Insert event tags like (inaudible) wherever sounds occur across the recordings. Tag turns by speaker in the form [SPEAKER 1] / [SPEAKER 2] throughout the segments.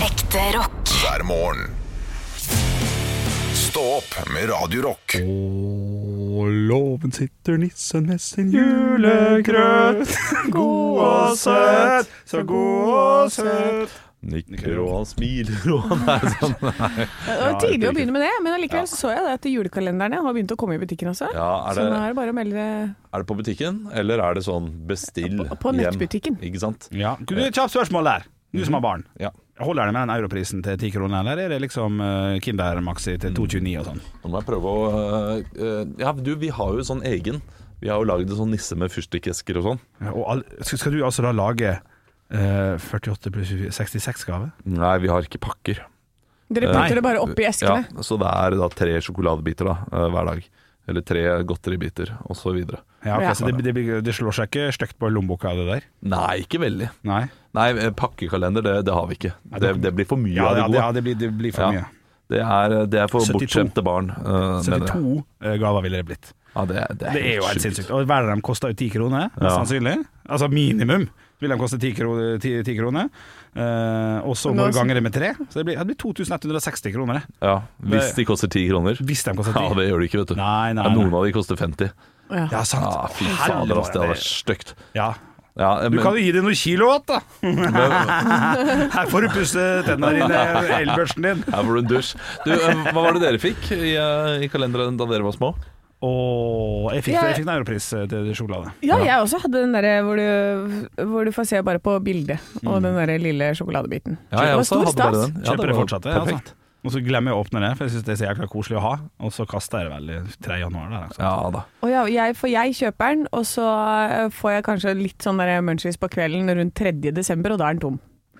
[SPEAKER 1] Ekte rock.
[SPEAKER 2] hver morgen. Stå opp med Radio Rock.
[SPEAKER 3] På låven sitter nissen med sin julegrøt. (laughs) God og søt, så god og søt.
[SPEAKER 4] Nikker og han smiler og han er sånn
[SPEAKER 5] Det var tidlig å begynne med det, men allikevel så så jeg det at julekalenderne har begynt å komme i butikken også.
[SPEAKER 4] Ja, er
[SPEAKER 5] Så
[SPEAKER 4] det-
[SPEAKER 5] nå er det bare å melde
[SPEAKER 4] Er det på butikken, eller er det sånn bestill
[SPEAKER 5] På- på
[SPEAKER 4] hjem?
[SPEAKER 5] nettbutikken.
[SPEAKER 4] Ikke sant?
[SPEAKER 3] Ja, du, et kjapt spørsmål der. Du som har barn.
[SPEAKER 4] Ja.
[SPEAKER 3] Holder det med den europrisen til 10 kroner, eller er det liksom eh, Kinder Maxi til 2,29 og sånn?
[SPEAKER 4] Nå må jeg prøve å øh, øh, Ja, du, vi har jo sånn egen. Vi har jo lagd en sånn nisse med fyrstikkesker og sånn.
[SPEAKER 3] Ja, Og all, skal, skal du altså da lage eh, 48 pluss 66-gave?
[SPEAKER 4] Nei, vi har ikke pakker.
[SPEAKER 5] Dere
[SPEAKER 3] Nei.
[SPEAKER 5] putter det bare oppi eskene.
[SPEAKER 4] Eh, Ja, så det er da tre sjokoladebiter da, øh, hver dag. Eller tre godteribiter, og så videre.
[SPEAKER 3] Ja, ok,
[SPEAKER 5] Ja.
[SPEAKER 3] Så det, det, blir- det slår seg ikke stygt på lommeboka av det der?
[SPEAKER 4] Nei, ikke veldig.
[SPEAKER 3] Nei?
[SPEAKER 4] Nei, øh, pakkekalender, det, det har vi ikke. Det, det blir for mye
[SPEAKER 3] Ja, det,
[SPEAKER 4] av det gode.
[SPEAKER 3] ja, det, blir, det blir for
[SPEAKER 4] Ja.
[SPEAKER 3] mye.
[SPEAKER 4] Det er, eh, det er for
[SPEAKER 3] 72.
[SPEAKER 4] bortskjemte barn. øh, mener jeg.
[SPEAKER 3] 72 eh, gaver ville det blitt.
[SPEAKER 4] Ja, det, er-
[SPEAKER 3] Det er jo
[SPEAKER 4] helt
[SPEAKER 3] helt
[SPEAKER 4] sjukt.
[SPEAKER 3] sinnssykt. Og hver av dem koster jo ti kroner, mest
[SPEAKER 4] Ja.
[SPEAKER 3] sannsynlig. Altså minimum vil de koste ti kroner. 10, kroner. Eh, og så
[SPEAKER 5] Men
[SPEAKER 3] må
[SPEAKER 5] da-
[SPEAKER 3] du gange det med tre, så det blir, ja, det blir 2160 kroner. det.
[SPEAKER 4] Ja, Hvis
[SPEAKER 3] Det-
[SPEAKER 4] de koster ti kroner.
[SPEAKER 3] Hvis de koster
[SPEAKER 4] Ja,
[SPEAKER 3] 10.
[SPEAKER 4] det gjør de ikke, vet du.
[SPEAKER 3] Nei, nei,
[SPEAKER 4] Ja, Noen
[SPEAKER 3] nei.
[SPEAKER 4] av de koster 50.
[SPEAKER 5] Ja.
[SPEAKER 3] Ja, sant.
[SPEAKER 4] Ja, fy fader, ass, det hadde
[SPEAKER 3] det-
[SPEAKER 4] vært stygt.
[SPEAKER 3] Ja.
[SPEAKER 4] Ja,
[SPEAKER 3] Du
[SPEAKER 4] men-
[SPEAKER 3] kan jo gi det noen kilo igjen, da! (laughs) Her får du pusse tennene dine, elbørsten din.
[SPEAKER 4] (laughs) her får du en dusj. Du, eh, hva var det dere fikk i, eh, i kalenderen da dere var små?
[SPEAKER 3] Og jeg fikk,
[SPEAKER 5] Jeg-
[SPEAKER 3] jeg fikk en europris eh, til sjokolade.
[SPEAKER 5] Ja, jeg også hadde den derre hvor, du- hvor du får se bare på bildet, og den derre lille sjokoladebiten.
[SPEAKER 4] Mm. Ja, jeg
[SPEAKER 5] det var
[SPEAKER 4] også
[SPEAKER 5] stor
[SPEAKER 4] hadde bare
[SPEAKER 5] stas.
[SPEAKER 4] den. Ja,
[SPEAKER 3] Kjøper det
[SPEAKER 4] var
[SPEAKER 3] fortsatt, det.
[SPEAKER 4] perfekt.
[SPEAKER 3] Altså. Og så glemmer jeg å åpne det, for jeg syns det er så jækla koselig å ha. Og så kaster jeg det vel i 3. januar. Der, altså.
[SPEAKER 4] Ja da.
[SPEAKER 5] Og ja, jeg, for jeg kjøper den, og så eh, får jeg kanskje litt sånn der munchies på kvelden rundt 3. desember, og da er den tom.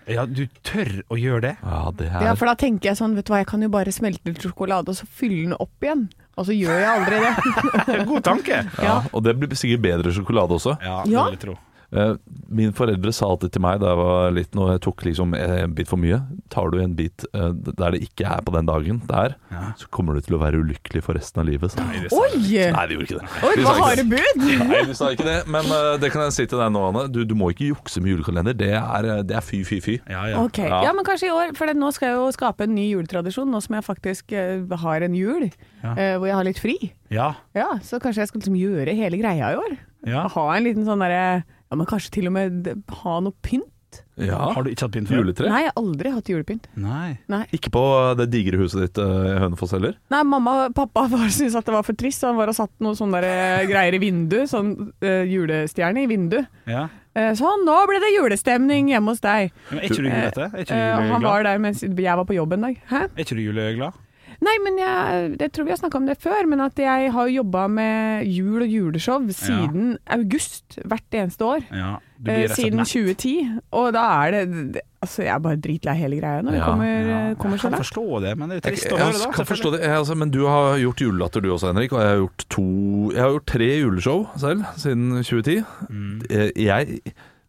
[SPEAKER 3] ja, du tør å gjøre det?
[SPEAKER 4] Ja, det
[SPEAKER 5] Ja,
[SPEAKER 4] er
[SPEAKER 5] for da tenker jeg sånn, vet du hva, jeg kan jo bare smelte litt sjokolade og så fylle den opp igjen. Og så gjør jeg aldri det.
[SPEAKER 3] (laughs) God tanke!
[SPEAKER 4] ja, Og det blir sikkert bedre sjokolade også.
[SPEAKER 3] Ja,
[SPEAKER 5] Ja.
[SPEAKER 3] det vil jeg tro.
[SPEAKER 4] Eh, Mine foreldre sa alltid til meg da jeg var liten og jeg tok liksom eh, en bit for mye Tar du en bit eh, der det ikke er på den dagen der, så kommer du til å være ulykkelig for resten av livet. sa de.
[SPEAKER 5] Oi!
[SPEAKER 4] Nei, de gjorde ikke det.
[SPEAKER 5] Oi,
[SPEAKER 4] De
[SPEAKER 5] hva
[SPEAKER 4] sa ikke
[SPEAKER 5] harde
[SPEAKER 4] det.
[SPEAKER 5] bud!
[SPEAKER 4] Nei, du sa ikke det, men eh, det kan jeg si til deg nå, Anne. Du, du må ikke jukse med julekalender. Det er, eh, det er fy, fy, fy.
[SPEAKER 3] Ja, ja.
[SPEAKER 5] Ok, ja. men kanskje i år, for det, nå skal jeg jo skape en ny juletradisjon, nå som jeg faktisk eh, har en jul eh, hvor jeg har litt fri.
[SPEAKER 3] Ja,
[SPEAKER 5] Ja, så kanskje jeg skal liksom gjøre hele greia i år.
[SPEAKER 3] ja.
[SPEAKER 5] Ha en liten sånn derre Ja, men kanskje til og med d- ha noe pynt?
[SPEAKER 4] Ja.
[SPEAKER 3] Har du ikke hatt pynt før?
[SPEAKER 4] Juletre?
[SPEAKER 5] Nei, jeg har aldri hatt julepynt.
[SPEAKER 3] Nei.
[SPEAKER 5] Nei.
[SPEAKER 4] Ikke på uh, det digre huset ditt eh, i Hønefoss heller?
[SPEAKER 5] Nei, mamma og pappa (laughs) bare syntes at det var for trist, så han var og satt noen sånne der greier i vinduet, sånn eh, julestjerne i vinduet.
[SPEAKER 3] Ja.
[SPEAKER 5] Eh, sånn, nå ble det julestemning hjemme hos deg.
[SPEAKER 3] Men er ikke du julete? Er ikke du
[SPEAKER 5] Eh, og han var
[SPEAKER 3] juleglad?
[SPEAKER 5] der mens jeg var på jobb en dag. Hæ?
[SPEAKER 3] Er ikke du juleglad?
[SPEAKER 5] Nei, men jeg, jeg tror vi har snakka om det før, men at jeg har jobba med jul og juleshow siden august hvert eneste år.
[SPEAKER 3] Ja. Du
[SPEAKER 5] eh,
[SPEAKER 3] blir rett og slett
[SPEAKER 5] siden
[SPEAKER 3] mett.
[SPEAKER 5] 2010. Og da er det- det Altså, jeg er bare dritlei hele greia når vi
[SPEAKER 4] Ja,
[SPEAKER 5] kommer,
[SPEAKER 3] Ja.
[SPEAKER 5] eh, kommer
[SPEAKER 3] Jeg
[SPEAKER 5] så
[SPEAKER 3] kan
[SPEAKER 5] langt.
[SPEAKER 3] forstå det, men det er
[SPEAKER 4] Jeg,
[SPEAKER 3] trist å
[SPEAKER 4] jeg
[SPEAKER 3] høre, da.
[SPEAKER 4] kan
[SPEAKER 3] selvfølgelig.
[SPEAKER 4] forstå det, jeg, altså, men du har gjort julelatter du også, Henrik. Og jeg har gjort to Jeg har gjort tre juleshow selv siden 2010.
[SPEAKER 3] Mm.
[SPEAKER 4] Eh, Jeg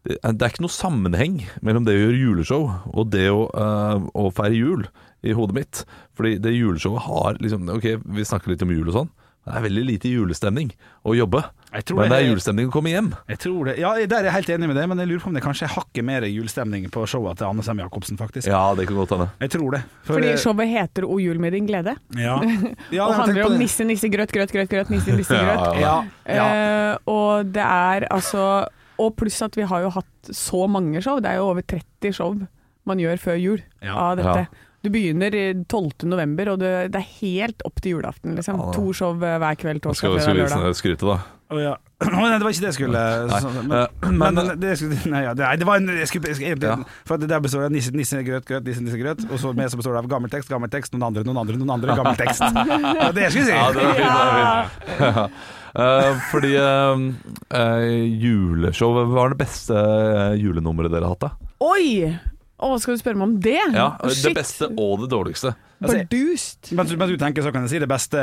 [SPEAKER 4] det er det er ikke noe sammenheng mellom det å gjøre juleshow og det å, eh, å feire jul i hodet mitt. Fordi det juleshowet har liksom Ok, vi snakker litt om jul og sånn. men Det er veldig lite julestemning å jobbe.
[SPEAKER 3] Jeg tror
[SPEAKER 4] Men det
[SPEAKER 3] det-
[SPEAKER 4] er julestemning å komme hjem.
[SPEAKER 3] Jeg tror det. Ja, der er jeg helt enig med deg, men jeg lurer på om det kanskje er hakket mer julestemning på showet til Anne Sem Jacobsen, faktisk.
[SPEAKER 4] Ja, det kan godt hende.
[SPEAKER 3] Jeg tror det. For
[SPEAKER 5] Fordi
[SPEAKER 3] det-
[SPEAKER 5] showet heter 'O jul med din glede', (laughs)
[SPEAKER 3] ja. ja,
[SPEAKER 5] og
[SPEAKER 3] jeg har tenkt
[SPEAKER 5] handler
[SPEAKER 3] på
[SPEAKER 5] om
[SPEAKER 3] det.
[SPEAKER 5] nisse, nisse, grøt, grøt, grøt, grøt, nisse, nisse,
[SPEAKER 4] Ja,
[SPEAKER 5] grøt.
[SPEAKER 4] ja, ja.
[SPEAKER 3] (laughs) Ja, ja.
[SPEAKER 5] Eh, og det er altså Og pluss at vi har jo hatt så mange show. Det er jo over 30 show man gjør før jul
[SPEAKER 3] Ja.
[SPEAKER 5] av dette.
[SPEAKER 4] Ja.
[SPEAKER 5] Du begynner i 12. november, og det, det er helt opp til julaften. Liksom.
[SPEAKER 4] Ja, da.
[SPEAKER 5] to show hver kveld,
[SPEAKER 4] Skal,
[SPEAKER 5] torsdag,
[SPEAKER 4] skal
[SPEAKER 5] fredag,
[SPEAKER 4] vi
[SPEAKER 5] lørdag.
[SPEAKER 4] sn- skryte, da?
[SPEAKER 3] Å, ja. (clears throat) Å, nei, det var ikke det jeg skulle sånn,
[SPEAKER 4] eh,
[SPEAKER 3] men,
[SPEAKER 4] men-
[SPEAKER 3] men, det jeg skulle, (laughs) Nei, ja, det, nei, det var en jeg skulle, jeg skulle,
[SPEAKER 4] Ja.
[SPEAKER 3] egentlig- For at det der består av nisse, nisse, grøt, grøt, nisse, nisse, grøt Og så med som består det av gammel tekst, gammel tekst, noen andre, noen andre, noen andre, gammel
[SPEAKER 4] (laughs)
[SPEAKER 3] tekst Det var det jeg skulle si
[SPEAKER 4] Ja, det var fint, det var fint. Eh, fordi eh, eh, juleshow Hva var det beste eh, julenummeret dere har hatt? da?
[SPEAKER 5] Oi! Å, skal du spørre meg om det?
[SPEAKER 4] Ja, Det
[SPEAKER 5] Shit.
[SPEAKER 4] beste altså, og det dårligste.
[SPEAKER 5] Bardust.
[SPEAKER 3] (laughs) mens, mens du tenker så kan jeg si det beste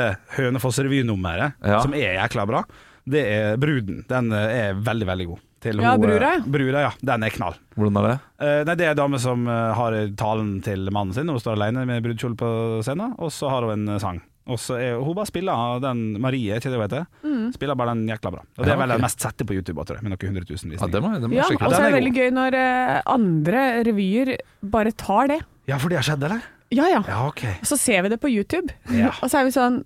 [SPEAKER 3] Hønefoss-revynummeret
[SPEAKER 4] Ja.
[SPEAKER 3] Som er jækla bra Det er Bruden, den eh, er veldig, veldig god til
[SPEAKER 5] Ja,
[SPEAKER 3] hun, eh,
[SPEAKER 5] Brura.
[SPEAKER 3] Brura, ja, den er knall
[SPEAKER 4] Hvordan er det?
[SPEAKER 3] Eh, nei, Det er en dame som eh, har talen til mannen sin. Hun står alene med brudekjole på scenen, og så har hun en eh, sang. Og så er, Hun bare spiller den Marie, ikke det hun heter?
[SPEAKER 5] Mm.
[SPEAKER 3] Spiller bare den jækla bra. Og Det
[SPEAKER 4] Ja,
[SPEAKER 3] er vel
[SPEAKER 4] ok.
[SPEAKER 3] den mest sette på YouTube, tror jeg, med noen hundre tusen
[SPEAKER 4] Ja, det
[SPEAKER 3] visninger.
[SPEAKER 4] må, det må
[SPEAKER 5] Ja, altså, og
[SPEAKER 4] jeg sjekke
[SPEAKER 5] så er
[SPEAKER 4] ut.
[SPEAKER 5] det
[SPEAKER 3] den er
[SPEAKER 5] veldig gøy når eh, andre revyer bare tar det.
[SPEAKER 3] Ja, Ja, for det har skjedd, eller?
[SPEAKER 5] Ja, ja.
[SPEAKER 3] Ja, ok.
[SPEAKER 5] Og så ser vi det på YouTube,
[SPEAKER 3] Ja.
[SPEAKER 5] og så er vi sånn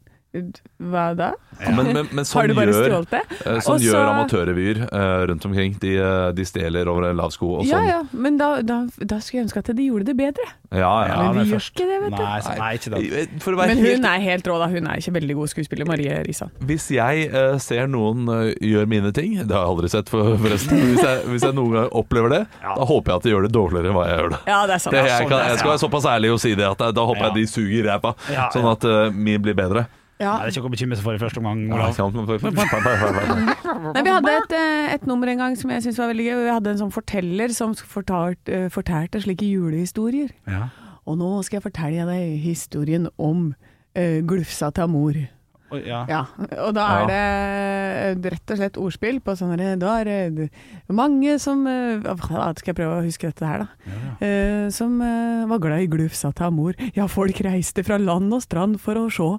[SPEAKER 5] Hva da?
[SPEAKER 4] Men, men, men sånn
[SPEAKER 5] Har du bare
[SPEAKER 4] gjør,
[SPEAKER 5] stjålet det?
[SPEAKER 4] eh, sånn
[SPEAKER 5] Og så-
[SPEAKER 4] gjør amatørrevyer eh, rundt omkring. De, eh, de stjeler over en lav sko og
[SPEAKER 5] Ja
[SPEAKER 4] sånn.
[SPEAKER 5] ja, men da, da, da skulle jeg ønske at de gjorde det bedre.
[SPEAKER 4] Ja, ja.
[SPEAKER 3] Ja,
[SPEAKER 5] men
[SPEAKER 3] men
[SPEAKER 5] vi gjør
[SPEAKER 3] først-
[SPEAKER 5] ikke det, vet du.
[SPEAKER 3] Nei, så, nei ikke det.
[SPEAKER 4] For å være
[SPEAKER 5] Men hun
[SPEAKER 4] helt
[SPEAKER 5] er helt rå, da. Hun er ikke veldig god skuespiller, Marie Risan.
[SPEAKER 4] Hvis jeg eh, ser noen eh, gjør mine ting Det har jeg aldri sett, for, forresten. men Hvis jeg, hvis jeg noen gang opplever det,
[SPEAKER 3] Ja.
[SPEAKER 4] da håper jeg at de gjør det dårligere enn hva jeg gjør det.
[SPEAKER 5] Ja, det er sant.
[SPEAKER 4] det jeg,
[SPEAKER 3] sånn
[SPEAKER 4] kan,
[SPEAKER 3] er
[SPEAKER 4] jeg
[SPEAKER 3] det,
[SPEAKER 4] skal
[SPEAKER 3] ja.
[SPEAKER 4] være såpass ærlig og si det, at eh, da håper
[SPEAKER 3] Ja.
[SPEAKER 4] jeg de suger ræva,
[SPEAKER 3] Ja,
[SPEAKER 4] sånn
[SPEAKER 3] ja.
[SPEAKER 4] at eh, min blir bedre.
[SPEAKER 5] Ja.
[SPEAKER 3] Nei, det er ikke å bekymre seg for i første omgang,
[SPEAKER 4] Ja,
[SPEAKER 3] Olav.
[SPEAKER 4] ikke sant? Sånn Men-
[SPEAKER 5] Nei, vi hadde et, eh, et nummer en gang som jeg syntes var veldig gøy. Vi hadde en sånn forteller som fortalt, eh, fortalte slike julehistorier.
[SPEAKER 3] Ja.
[SPEAKER 5] Og nå skal jeg fortelle deg historien om eh, glufsa til mor.
[SPEAKER 3] Oi, ja.
[SPEAKER 5] Ja, og da er det eh, rett og slett ordspill på sånne Da er det mange som eh, hva Skal jeg prøve å huske dette her, da? Eh, Som eh, var glad i glufsa til mor. Ja, folk reiste fra land og strand for å sjå.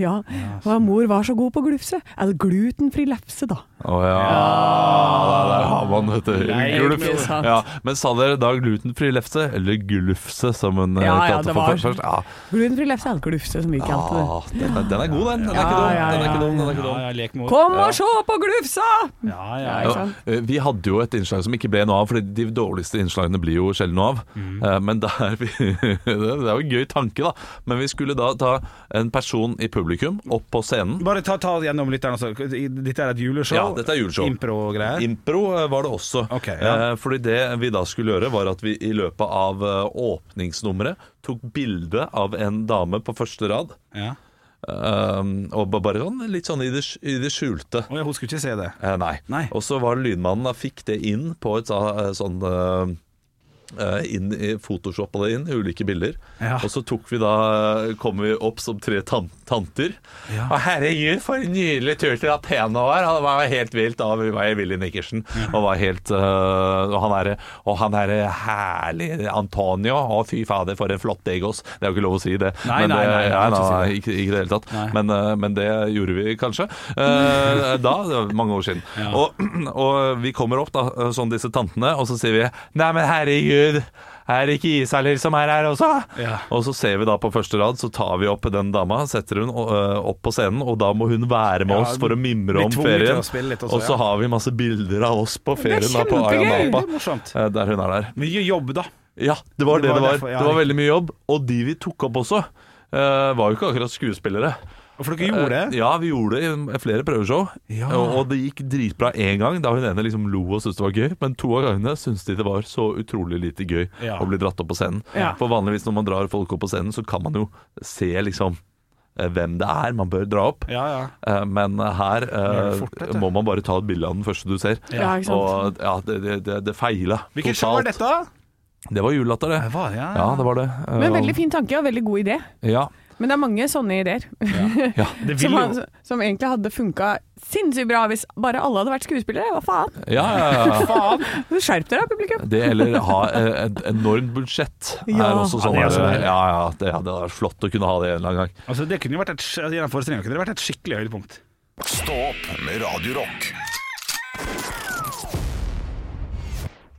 [SPEAKER 5] Ja, og mor var så god på glufse. Er det glutenfri lefse, da?
[SPEAKER 4] Å ja, der, der har man, vet du.
[SPEAKER 3] Nei,
[SPEAKER 4] Glufs.
[SPEAKER 5] ikke sant.
[SPEAKER 4] Ja. Men sa dere da glutenfri lefse, eller glufse, som hun eh,
[SPEAKER 5] Ja, ja, det
[SPEAKER 4] kalte det for
[SPEAKER 5] var- sånn
[SPEAKER 4] først? Ja.
[SPEAKER 5] Glutenfri lefse er det glufse som vi kalte det.
[SPEAKER 4] Ah, den, er- den er god, den. Den er ikke
[SPEAKER 5] Ja,
[SPEAKER 4] dum.
[SPEAKER 5] ja,
[SPEAKER 4] Den er
[SPEAKER 5] ja,
[SPEAKER 4] ikke dum. Den er ikke
[SPEAKER 3] Ja,
[SPEAKER 4] dum.
[SPEAKER 3] ja, lek med ord.
[SPEAKER 5] Kom og sjå på glufsa!
[SPEAKER 3] Ja, ja,
[SPEAKER 5] Ja,
[SPEAKER 3] ja.
[SPEAKER 5] ikke
[SPEAKER 4] Ja,
[SPEAKER 5] sant?
[SPEAKER 4] eh, vi hadde jo et innslag som ikke ble noe av, for de dårligste innslagene blir jo sjelden noe av.
[SPEAKER 5] Mm.
[SPEAKER 4] Eh, Men der vi, (laughs) det er jo en gøy tanke, da. Men vi skulle da ta en person i publikum opp på scenen.
[SPEAKER 3] Bare ta, ta gjennom lytteren. Altså. Dette er et juleshow?
[SPEAKER 4] Ja, dette er juleshow.
[SPEAKER 3] Impro-greier?
[SPEAKER 4] Impro eh, var det også.
[SPEAKER 3] Ok, ja.
[SPEAKER 4] Eh, Fordi det vi da skulle gjøre, var at vi i løpet av eh, åpningsnummeret tok bilde av en dame på første rad.
[SPEAKER 3] ja.
[SPEAKER 4] eh, Og ba- bare sånn litt sånn i det, sk- i det skjulte.
[SPEAKER 3] Å, jeg husker ikke se det.
[SPEAKER 4] Eh, nei.
[SPEAKER 3] Nei.
[SPEAKER 4] Og så var det lydmannen da fikk det inn på et sa- eh, sånn eh, eh, inn, i- Photoshoppa det inn, ulike bilder.
[SPEAKER 3] Ja.
[SPEAKER 4] Og så tok vi da kom vi opp som tre tan tanter.
[SPEAKER 3] Ja.
[SPEAKER 4] Og herregud, for en nydelig tur til Athena var! Det var helt vilt. Da var jeg Willy Nikkersen. Og var helt eh, Og han er, og han er herlig Antonio. Å, fy fader, for en flott Degos. Det er jo ikke lov å si det.
[SPEAKER 3] Nei,
[SPEAKER 4] Men
[SPEAKER 3] nei,
[SPEAKER 4] det-
[SPEAKER 3] nei, jeg må
[SPEAKER 4] ja,
[SPEAKER 3] ikke si det.
[SPEAKER 4] nei, ikke, ikke i det hele tatt.
[SPEAKER 3] Nei.
[SPEAKER 4] Men, eh, men det gjorde vi kanskje eh, da. Det var mange år siden. Og, (clears throat) og vi kommer opp, da, sånn disse tantene, og så sier vi Nei, men herregud, er det ikke Isalill som er her også?
[SPEAKER 3] Ja.
[SPEAKER 4] Og så ser vi da på første rad, så tar vi opp den dama, setter hun eh, opp på scenen, og da må hun være med
[SPEAKER 3] Ja,
[SPEAKER 4] oss for å
[SPEAKER 3] bli
[SPEAKER 4] mimre om
[SPEAKER 3] tvunget til
[SPEAKER 4] ferien.
[SPEAKER 3] å spille litt også,
[SPEAKER 4] og så
[SPEAKER 3] ja.
[SPEAKER 4] har vi masse bilder av oss på
[SPEAKER 5] er
[SPEAKER 4] ferien da, på Aya
[SPEAKER 5] kjempegøy!
[SPEAKER 3] Det
[SPEAKER 4] Napa,
[SPEAKER 3] er morsomt.
[SPEAKER 4] eh, der hun er der.
[SPEAKER 3] Mye jobb, da.
[SPEAKER 4] Ja, det var det
[SPEAKER 3] Det var
[SPEAKER 4] det var. Det var,
[SPEAKER 3] derfor, ja, riktig.
[SPEAKER 4] veldig mye jobb. Og de vi tok opp også, eh, var jo ikke akkurat skuespillere.
[SPEAKER 3] For dere gjorde
[SPEAKER 4] Eh,
[SPEAKER 3] det?
[SPEAKER 4] Ja, vi gjorde det i flere prøveshow.
[SPEAKER 3] Ja.
[SPEAKER 4] Og og det gikk dritbra én gang, da hun ene liksom lo og syntes det var gøy. Men to av gangene syntes de det var så utrolig lite gøy
[SPEAKER 3] Ja.
[SPEAKER 4] å bli dratt opp på scenen.
[SPEAKER 5] Ja.
[SPEAKER 4] For vanligvis når man drar folk opp på scenen, så kan man jo se liksom eh, hvem det er man bør dra opp.
[SPEAKER 3] Ja, ja.
[SPEAKER 4] Eh, Men her
[SPEAKER 3] Gjør
[SPEAKER 4] eh,
[SPEAKER 3] det fort, vet du.
[SPEAKER 4] må man bare ta et bilde av den første du ser.
[SPEAKER 5] Ja, ikke sant.
[SPEAKER 4] Og ja, det, det, det, det feila
[SPEAKER 3] Hvilken show er dette?
[SPEAKER 4] Det var julelatter, det.
[SPEAKER 3] Det var, ja.
[SPEAKER 4] Ja, det var det.
[SPEAKER 5] Men
[SPEAKER 4] Eh,
[SPEAKER 5] veldig fin tanke og veldig god idé.
[SPEAKER 4] Ja.
[SPEAKER 5] Men det er mange sånne ideer
[SPEAKER 4] ja.
[SPEAKER 3] Det
[SPEAKER 5] som,
[SPEAKER 3] vil jo
[SPEAKER 5] har- som egentlig hadde funka sinnssykt bra hvis bare alle hadde vært skuespillere. Hva faen?
[SPEAKER 4] ja,
[SPEAKER 3] (laughs)
[SPEAKER 4] ja, ja.
[SPEAKER 5] faen? Skjerp dere, publikum.
[SPEAKER 4] Det eller ha eh, et enormt budsjett
[SPEAKER 5] Ja.
[SPEAKER 4] er også sånn.
[SPEAKER 3] Ja, det er også
[SPEAKER 4] eh,
[SPEAKER 3] det.
[SPEAKER 4] Ja, ja, det hadde vært flott å kunne ha det en eller annen gang.
[SPEAKER 3] Altså, det kunne jo vært et, altså, i den forestillingen kunne det vært et skikkelig høydepunkt.
[SPEAKER 2] Stå opp med Radio Rock.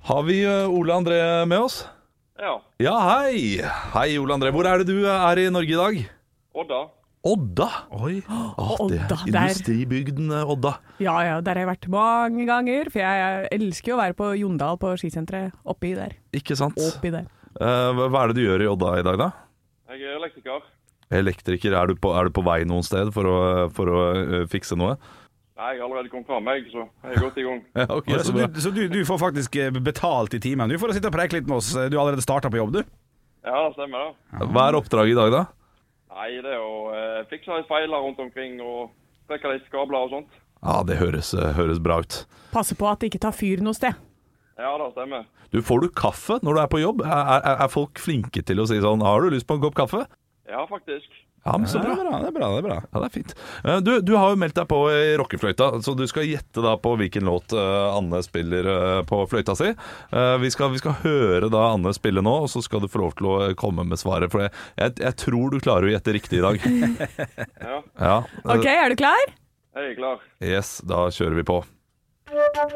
[SPEAKER 4] Har vi eh, Ole André med oss?
[SPEAKER 1] Ja.
[SPEAKER 4] Ja, hei! Hei, Ole André. Hvor er det du eh, er i Norge i dag?
[SPEAKER 1] Odda.
[SPEAKER 4] Odda.
[SPEAKER 3] Oi.
[SPEAKER 4] Åh, det er
[SPEAKER 5] Odda, der.
[SPEAKER 4] industribygden eh, Odda.
[SPEAKER 5] Ja ja, der har jeg vært mange ganger. For jeg elsker jo å være på Jondal på skisenteret. Oppi der.
[SPEAKER 4] Ikke sant?
[SPEAKER 5] Oppi der.
[SPEAKER 4] Eh, hva hva er det du gjør i Odda i dag, da?
[SPEAKER 1] Jeg er elektriker.
[SPEAKER 4] Elektriker, er du på, er du på vei noen sted for å, for å eh, fikse noe? (laughs)
[SPEAKER 1] Nei, jeg har allerede kommet fra meg, så jeg er godt i gang.
[SPEAKER 4] Ja, ok,
[SPEAKER 3] Ja,
[SPEAKER 4] så
[SPEAKER 3] så
[SPEAKER 4] bra.
[SPEAKER 3] du, så du, du får faktisk eh, betalt i timen. Du får sitte og preike litt med oss. Du har allerede starta på jobb, du.
[SPEAKER 1] Ja, det stemmer, det.
[SPEAKER 4] Hva er oppdraget i dag, da?
[SPEAKER 1] Nei, det er å eh, fikse litt feiler rundt omkring og trekke litt kabler og sånt.
[SPEAKER 4] Ja, det høres, eh, høres bra ut.
[SPEAKER 5] Passe på at det ikke tar fyr noe sted.
[SPEAKER 1] Ja, det stemmer.
[SPEAKER 4] Du, Får du kaffe når du er på jobb? Er, er, er folk flinke til å si sånn 'Har du lyst på en kopp kaffe?'
[SPEAKER 1] Ja, faktisk.
[SPEAKER 4] Ja, men så
[SPEAKER 3] Det
[SPEAKER 4] bra.
[SPEAKER 3] er bra. det er bra, det er bra.
[SPEAKER 4] Ja, det er fint. Eh, Du, du har jo meldt deg på i rockefløyta, så du skal gjette da på hvilken låt eh, Anne spiller eh, på fløyta si. Eh, Vi skal, vi skal høre da Anne spille nå, og så skal du få lov til å eh, komme med svaret. For jeg, jeg, jeg tror du klarer å gjette riktig i dag.
[SPEAKER 1] Ja,
[SPEAKER 4] Ja. eh,
[SPEAKER 5] OK, er du klar?
[SPEAKER 1] jeg er klar.
[SPEAKER 4] Yes, da kjører vi på.
[SPEAKER 6] Thank you.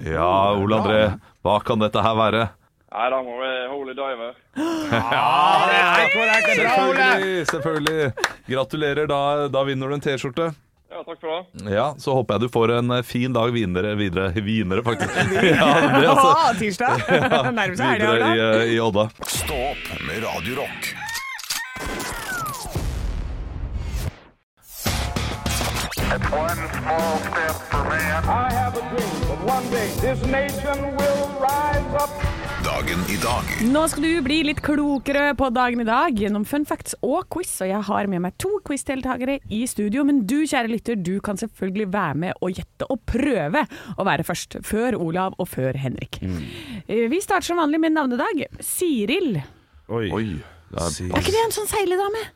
[SPEAKER 4] Ja, Ole André, hva kan dette her være?
[SPEAKER 1] Nei, da må vi Holy Diver.
[SPEAKER 4] Selvfølgelig! selvfølgelig Gratulerer, da, da vinner du en T-skjorte.
[SPEAKER 1] Ja, takk for det.
[SPEAKER 4] Ja, Så håper jeg du får en eh, fin dag videre, videre, videre
[SPEAKER 5] (laughs)
[SPEAKER 4] faktisk. Ja, det altså.
[SPEAKER 5] Ah,
[SPEAKER 4] (laughs)
[SPEAKER 5] tirsdag! Nærmer seg helga.
[SPEAKER 4] Videre i,
[SPEAKER 5] da.
[SPEAKER 4] eh, i Odda.
[SPEAKER 2] Stå opp med Radio Rock.
[SPEAKER 6] I have a dream that one day this nation will rise up.
[SPEAKER 2] Dagen i dag
[SPEAKER 5] Nå skal du bli litt klokere på dagen i dag gjennom fun facts og quiz. Og jeg har med meg to quizdeltakere i studio, men du kjære lytter, du kan selvfølgelig være med og gjette og prøve å være først. Før Olav og før Henrik.
[SPEAKER 3] Mm.
[SPEAKER 5] Eh, Vi starter som vanlig med navnedag. Siril.
[SPEAKER 3] Oi.
[SPEAKER 4] Oi. Ja,
[SPEAKER 5] Er ikke det en sånn seiledame?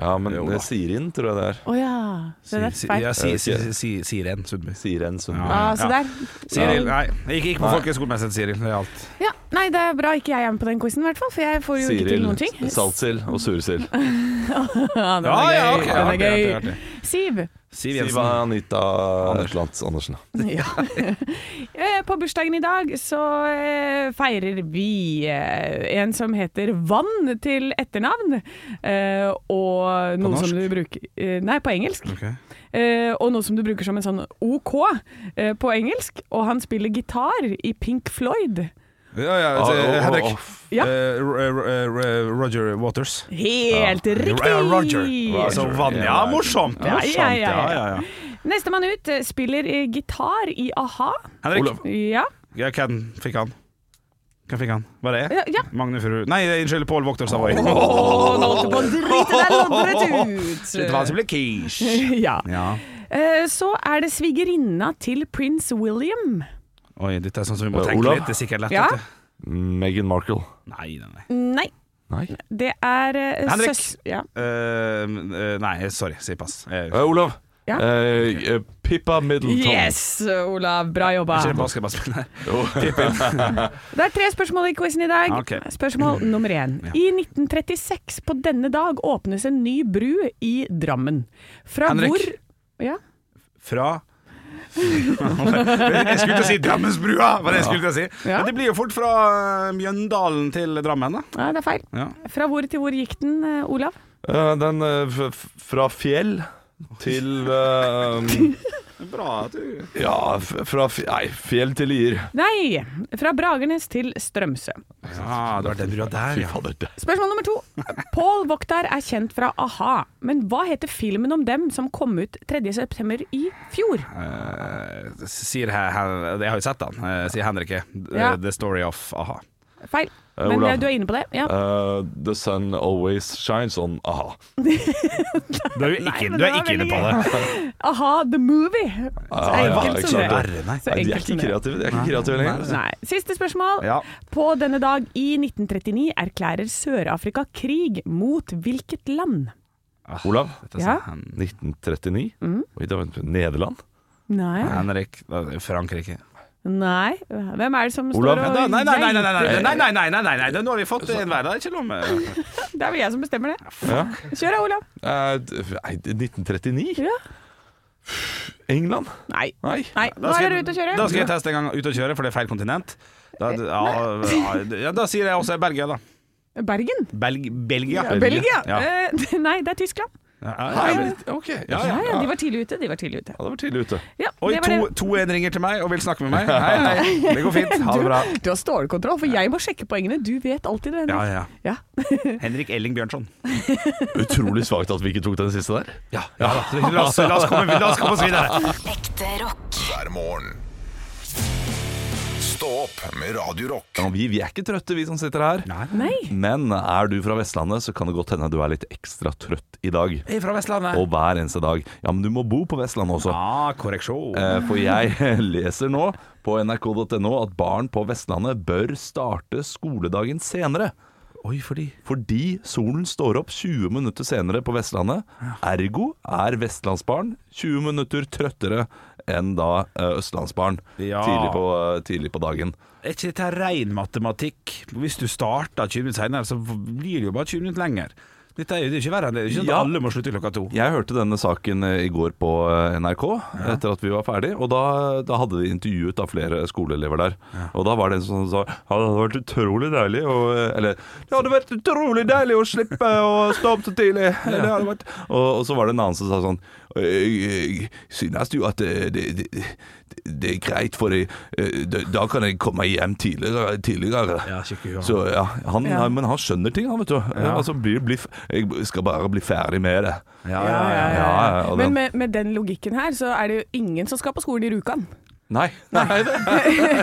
[SPEAKER 4] ja, men det er Sirin, tror jeg det er.
[SPEAKER 5] Å ja. Så det er
[SPEAKER 3] Si-
[SPEAKER 5] feil.
[SPEAKER 3] Ja,
[SPEAKER 5] Ja,
[SPEAKER 3] si, si, si, si, Siren Sundby.
[SPEAKER 4] Siren Sundby.
[SPEAKER 5] så
[SPEAKER 3] Ja.
[SPEAKER 5] der.
[SPEAKER 3] Siril, nei. Jeg gikk ikke på folkehøyskolen, men jeg heter Siril. Det er alt.
[SPEAKER 5] Ja, nei, det er bra ikke jeg er med på den quizen, i hvert fall, for jeg får jo ikke til
[SPEAKER 4] Siril,
[SPEAKER 5] noen ting.
[SPEAKER 4] saltsild og sursild.
[SPEAKER 5] (laughs) Ja, den er
[SPEAKER 3] ja,
[SPEAKER 5] gøy.
[SPEAKER 3] ok.
[SPEAKER 5] Den er
[SPEAKER 3] Artig, artig,
[SPEAKER 5] gøy.
[SPEAKER 3] artig.
[SPEAKER 5] Siv.
[SPEAKER 3] Siv
[SPEAKER 4] Siva
[SPEAKER 3] Jensen.
[SPEAKER 4] Anita Ah, Lantz Andersen.
[SPEAKER 5] Ja. Eh, På bursdagen i dag så eh, feirer vi eh, en som heter Vann til etternavn. eh, Og noe
[SPEAKER 3] norsk? Mm.
[SPEAKER 5] som du bruker eh, Nei, på engelsk.
[SPEAKER 3] Ok.
[SPEAKER 5] Eh, Og noe som du bruker som en sånn OK eh, på engelsk. Og han spiller gitar i Pink Floyd.
[SPEAKER 3] Ja, ja,
[SPEAKER 5] Altså,
[SPEAKER 4] Ah,
[SPEAKER 3] eh,
[SPEAKER 4] oh,
[SPEAKER 3] Henrik.
[SPEAKER 4] oh,
[SPEAKER 5] Ja.
[SPEAKER 3] Eh, Ro- eh, Ro- eh, Ro- Roger Waters.
[SPEAKER 5] Helt riktig!
[SPEAKER 3] Ja, Ah, Roger.
[SPEAKER 4] Roger.
[SPEAKER 3] Så Vanja,
[SPEAKER 4] Ja,
[SPEAKER 3] morsomt!
[SPEAKER 5] ja,
[SPEAKER 3] morsomt.
[SPEAKER 5] ja, ja, ja.
[SPEAKER 3] ja, ja.
[SPEAKER 5] Nestemann ut eh, spiller eh, gitar i a-ha.
[SPEAKER 3] Henrik,
[SPEAKER 4] Olav.
[SPEAKER 5] Ja.
[SPEAKER 3] ja, hvem fikk han? Hvem fikk han? Var det jeg?
[SPEAKER 5] ja, ja.
[SPEAKER 3] Magne Furu Nei, eh, unnskyld, Pål Vokter Savoy.
[SPEAKER 5] Og nå holdt du på å drite deg
[SPEAKER 3] Litt
[SPEAKER 5] loddrett ut!
[SPEAKER 3] vanskelig altså quiche.
[SPEAKER 5] (laughs) Ja.
[SPEAKER 3] Ja.
[SPEAKER 5] Eh, Så er det svigerinna til prins William.
[SPEAKER 3] Oi, dette er sånn som vi må
[SPEAKER 4] Eh,
[SPEAKER 3] tenke
[SPEAKER 4] Olav?
[SPEAKER 3] litt. Det er sikkert lett.
[SPEAKER 5] Ja.
[SPEAKER 3] vet du.
[SPEAKER 4] Meghan Markle.
[SPEAKER 3] Nei, nei, nei.
[SPEAKER 5] Nei,
[SPEAKER 4] Nei.
[SPEAKER 5] det er eh,
[SPEAKER 3] Henrik.
[SPEAKER 5] søs- Ja.
[SPEAKER 3] Eh, eh, nei, sorry. Si pass. Eh,
[SPEAKER 4] Eh, Olav.
[SPEAKER 5] Ja.
[SPEAKER 4] Eh, eh, Pippa Middleton.
[SPEAKER 5] Yes, Olav. Bra jobba.
[SPEAKER 3] ikke en basketballspiller.
[SPEAKER 5] Det er tre spørsmål i quizen i dag.
[SPEAKER 3] Ah, Ok. (clears throat)
[SPEAKER 5] Spørsmål nummer én. I 1936 på denne dag åpnes en ny bru i Drammen. Fra
[SPEAKER 3] Henrik.
[SPEAKER 5] hvor ja.
[SPEAKER 3] Fra Jeg skulle til å si Drammensbrua, var det jeg skulle til å si.
[SPEAKER 5] Ja.
[SPEAKER 3] Men det blir jo fort fra eh, Mjøndalen til Drammen, da.
[SPEAKER 5] Nei, det er feil.
[SPEAKER 3] Ja.
[SPEAKER 5] Fra hvor til hvor gikk den, eh, Olav?
[SPEAKER 4] Eh, den eh, f f- fra fjell til eh,
[SPEAKER 5] (laughs)
[SPEAKER 4] um,
[SPEAKER 3] Bra at du
[SPEAKER 4] Ja, f fra f nei, fjell til Lier.
[SPEAKER 5] Nei! Fra Bragernes til Strømsø.
[SPEAKER 3] Ja, det var den brua der,
[SPEAKER 4] Fy
[SPEAKER 3] ja.
[SPEAKER 4] fader. det-
[SPEAKER 5] Spørsmål nummer to. Paul Voktar er kjent fra a-ha, men hva heter filmen om dem som kom ut 3.9. i fjor?
[SPEAKER 3] Eh, Sier he, he, jeg har jo sett den, eh, sier Henrike. The,
[SPEAKER 5] Ja.
[SPEAKER 3] the story of a-ha.
[SPEAKER 5] Feil.
[SPEAKER 4] Eh,
[SPEAKER 5] Men
[SPEAKER 4] Olav.
[SPEAKER 5] eh, du er inne på det. Ja.
[SPEAKER 4] Eh, the sun always shines on aha.
[SPEAKER 3] Du er jo
[SPEAKER 5] Nei,
[SPEAKER 3] ikke, du er
[SPEAKER 5] men det var
[SPEAKER 3] ikke inne på
[SPEAKER 5] veldig
[SPEAKER 3] det.
[SPEAKER 5] A-ha, the movie. Så
[SPEAKER 4] Ah, ja,
[SPEAKER 5] enkelt
[SPEAKER 4] ikke
[SPEAKER 5] som
[SPEAKER 4] sant.
[SPEAKER 5] det.
[SPEAKER 3] Verre, nei.
[SPEAKER 5] Så
[SPEAKER 4] Nei, de er
[SPEAKER 5] enkelt som
[SPEAKER 4] ikke
[SPEAKER 5] det.
[SPEAKER 4] kreative, de er ikke kreative lenger.
[SPEAKER 5] Nei. Siste spørsmål.
[SPEAKER 3] Ja.
[SPEAKER 5] På denne dag i 1939 erklærer Sør-Afrika krig mot hvilket land?
[SPEAKER 4] Olav,
[SPEAKER 3] Dette sa
[SPEAKER 5] Ja.
[SPEAKER 3] Hen-
[SPEAKER 4] 1939.
[SPEAKER 5] Mm.
[SPEAKER 4] Oi, da vent, Nederland?
[SPEAKER 5] Nei.
[SPEAKER 3] Henrik eh, Frankrike.
[SPEAKER 5] Nei. Hvem er det som står
[SPEAKER 4] Olav.
[SPEAKER 5] og
[SPEAKER 3] Nei, nei, nei, nei, nei, nei, nei, nei, nei, nei, nei, nei. nå har vi fått en hver. Det er ikke lov med
[SPEAKER 5] Det er vel jeg som bestemmer det.
[SPEAKER 4] Ja.
[SPEAKER 5] Kjør da, Olav.
[SPEAKER 4] Eh, d- nei, 1939?
[SPEAKER 5] Ja.
[SPEAKER 4] England?
[SPEAKER 5] Nei.
[SPEAKER 4] Nei.
[SPEAKER 5] Nei,
[SPEAKER 3] Da
[SPEAKER 5] nå er
[SPEAKER 3] skal-
[SPEAKER 5] dere ute og kjører. Eh,
[SPEAKER 3] Da skal jeg teste en gang ut og kjøre, for det er feil kontinent. Da, ja, ja, da sier jeg også Belgia, da.
[SPEAKER 5] Bergen?
[SPEAKER 3] Belg, Belgia.
[SPEAKER 5] Belgia?
[SPEAKER 3] Ja.
[SPEAKER 5] Eh, (laughs) nei, det er Tyskland.
[SPEAKER 3] Ja,
[SPEAKER 4] Nei,
[SPEAKER 3] ja,
[SPEAKER 4] men- ok. Ja,
[SPEAKER 5] Ja,
[SPEAKER 4] ja,
[SPEAKER 5] ja, de var tidlig ute. De var tidlig ute.
[SPEAKER 4] Ja, det var tidlig ute.
[SPEAKER 5] Ja,
[SPEAKER 3] Oi,
[SPEAKER 5] det var
[SPEAKER 3] to,
[SPEAKER 5] det.
[SPEAKER 3] to en ringer til meg og vil snakke med meg. Hei,
[SPEAKER 5] (laughs)
[SPEAKER 3] hei. Det går fint. Ha det bra.
[SPEAKER 5] Du, du har stålkontroll, for jeg må sjekke poengene. Du vet alltid det.
[SPEAKER 3] Ja,
[SPEAKER 5] Henrik.
[SPEAKER 3] ja.
[SPEAKER 5] Ja. (laughs)
[SPEAKER 3] Henrik Elling Bjørnson.
[SPEAKER 4] Utrolig svakt at vi ikke tok den siste der.
[SPEAKER 3] Ja, da. (laughs) La oss, la oss, komme, la oss komme oss videre.
[SPEAKER 7] Ekte rock.
[SPEAKER 2] hver morgen. Stå opp med Radio Rock.
[SPEAKER 4] Ja, vi, vi er ikke trøtte, vi som sitter her.
[SPEAKER 5] Nei.
[SPEAKER 4] Men er du fra Vestlandet, så kan det godt hende du er litt ekstra trøtt i dag.
[SPEAKER 3] Jeg er (laughs) fra Vestlandet.
[SPEAKER 4] Og hver eneste dag. Ja, men du må bo på Vestlandet også.
[SPEAKER 3] Ja, korreksjon.
[SPEAKER 4] Eh, For jeg (laughs) leser nå på nrk.no at barn på Vestlandet bør starte skoledagen senere.
[SPEAKER 3] Oi, fordi
[SPEAKER 4] Fordi solen står opp 20 minutter senere på Vestlandet. Ergo er vestlandsbarn 20 minutter trøttere enn da eh, østlandsbarn
[SPEAKER 3] Ja.
[SPEAKER 4] tidlig, på, eh, tidlig på dagen.
[SPEAKER 3] Er ikke dette ren matematikk? Hvis du starter 20 minutter senere, så blir det jo bare 20 minutter lenger. Dette er jo det er ikke verre enn det. Det er ikke sånn at
[SPEAKER 4] Ja.
[SPEAKER 3] alle må slutte klokka to.
[SPEAKER 4] Jeg hørte denne saken eh, i går på eh, NRK etter at vi var ferdig, og da, da hadde de intervjuet da flere skoleelever der. Og da var det en som sa ja, det hadde vært utrolig deilig å eh," Eller det hadde vært utrolig deilig å slippe å stå opp så tidlig. Det hadde vært. Og, og så var det en annen som sa sånn «Jeg- jeg Synes du at eh, det, det, det, det er greit, for eh, da- da kan jeg komme hjem tidligere? tidligere.
[SPEAKER 3] Ja, skikke hua.
[SPEAKER 4] så ja, han,
[SPEAKER 5] Ja.
[SPEAKER 4] Men han skjønner ting, han, vet du. Altså, bli, bli, f- jeg skal bare bli ferdig med det.
[SPEAKER 3] Ja,
[SPEAKER 5] Ja, ja, ja.
[SPEAKER 4] Ja, ja, og
[SPEAKER 5] Men
[SPEAKER 4] den-
[SPEAKER 5] med, med den logikken her, så er det jo ingen som skal på skolen i Rjukan.
[SPEAKER 4] Nei. Nei.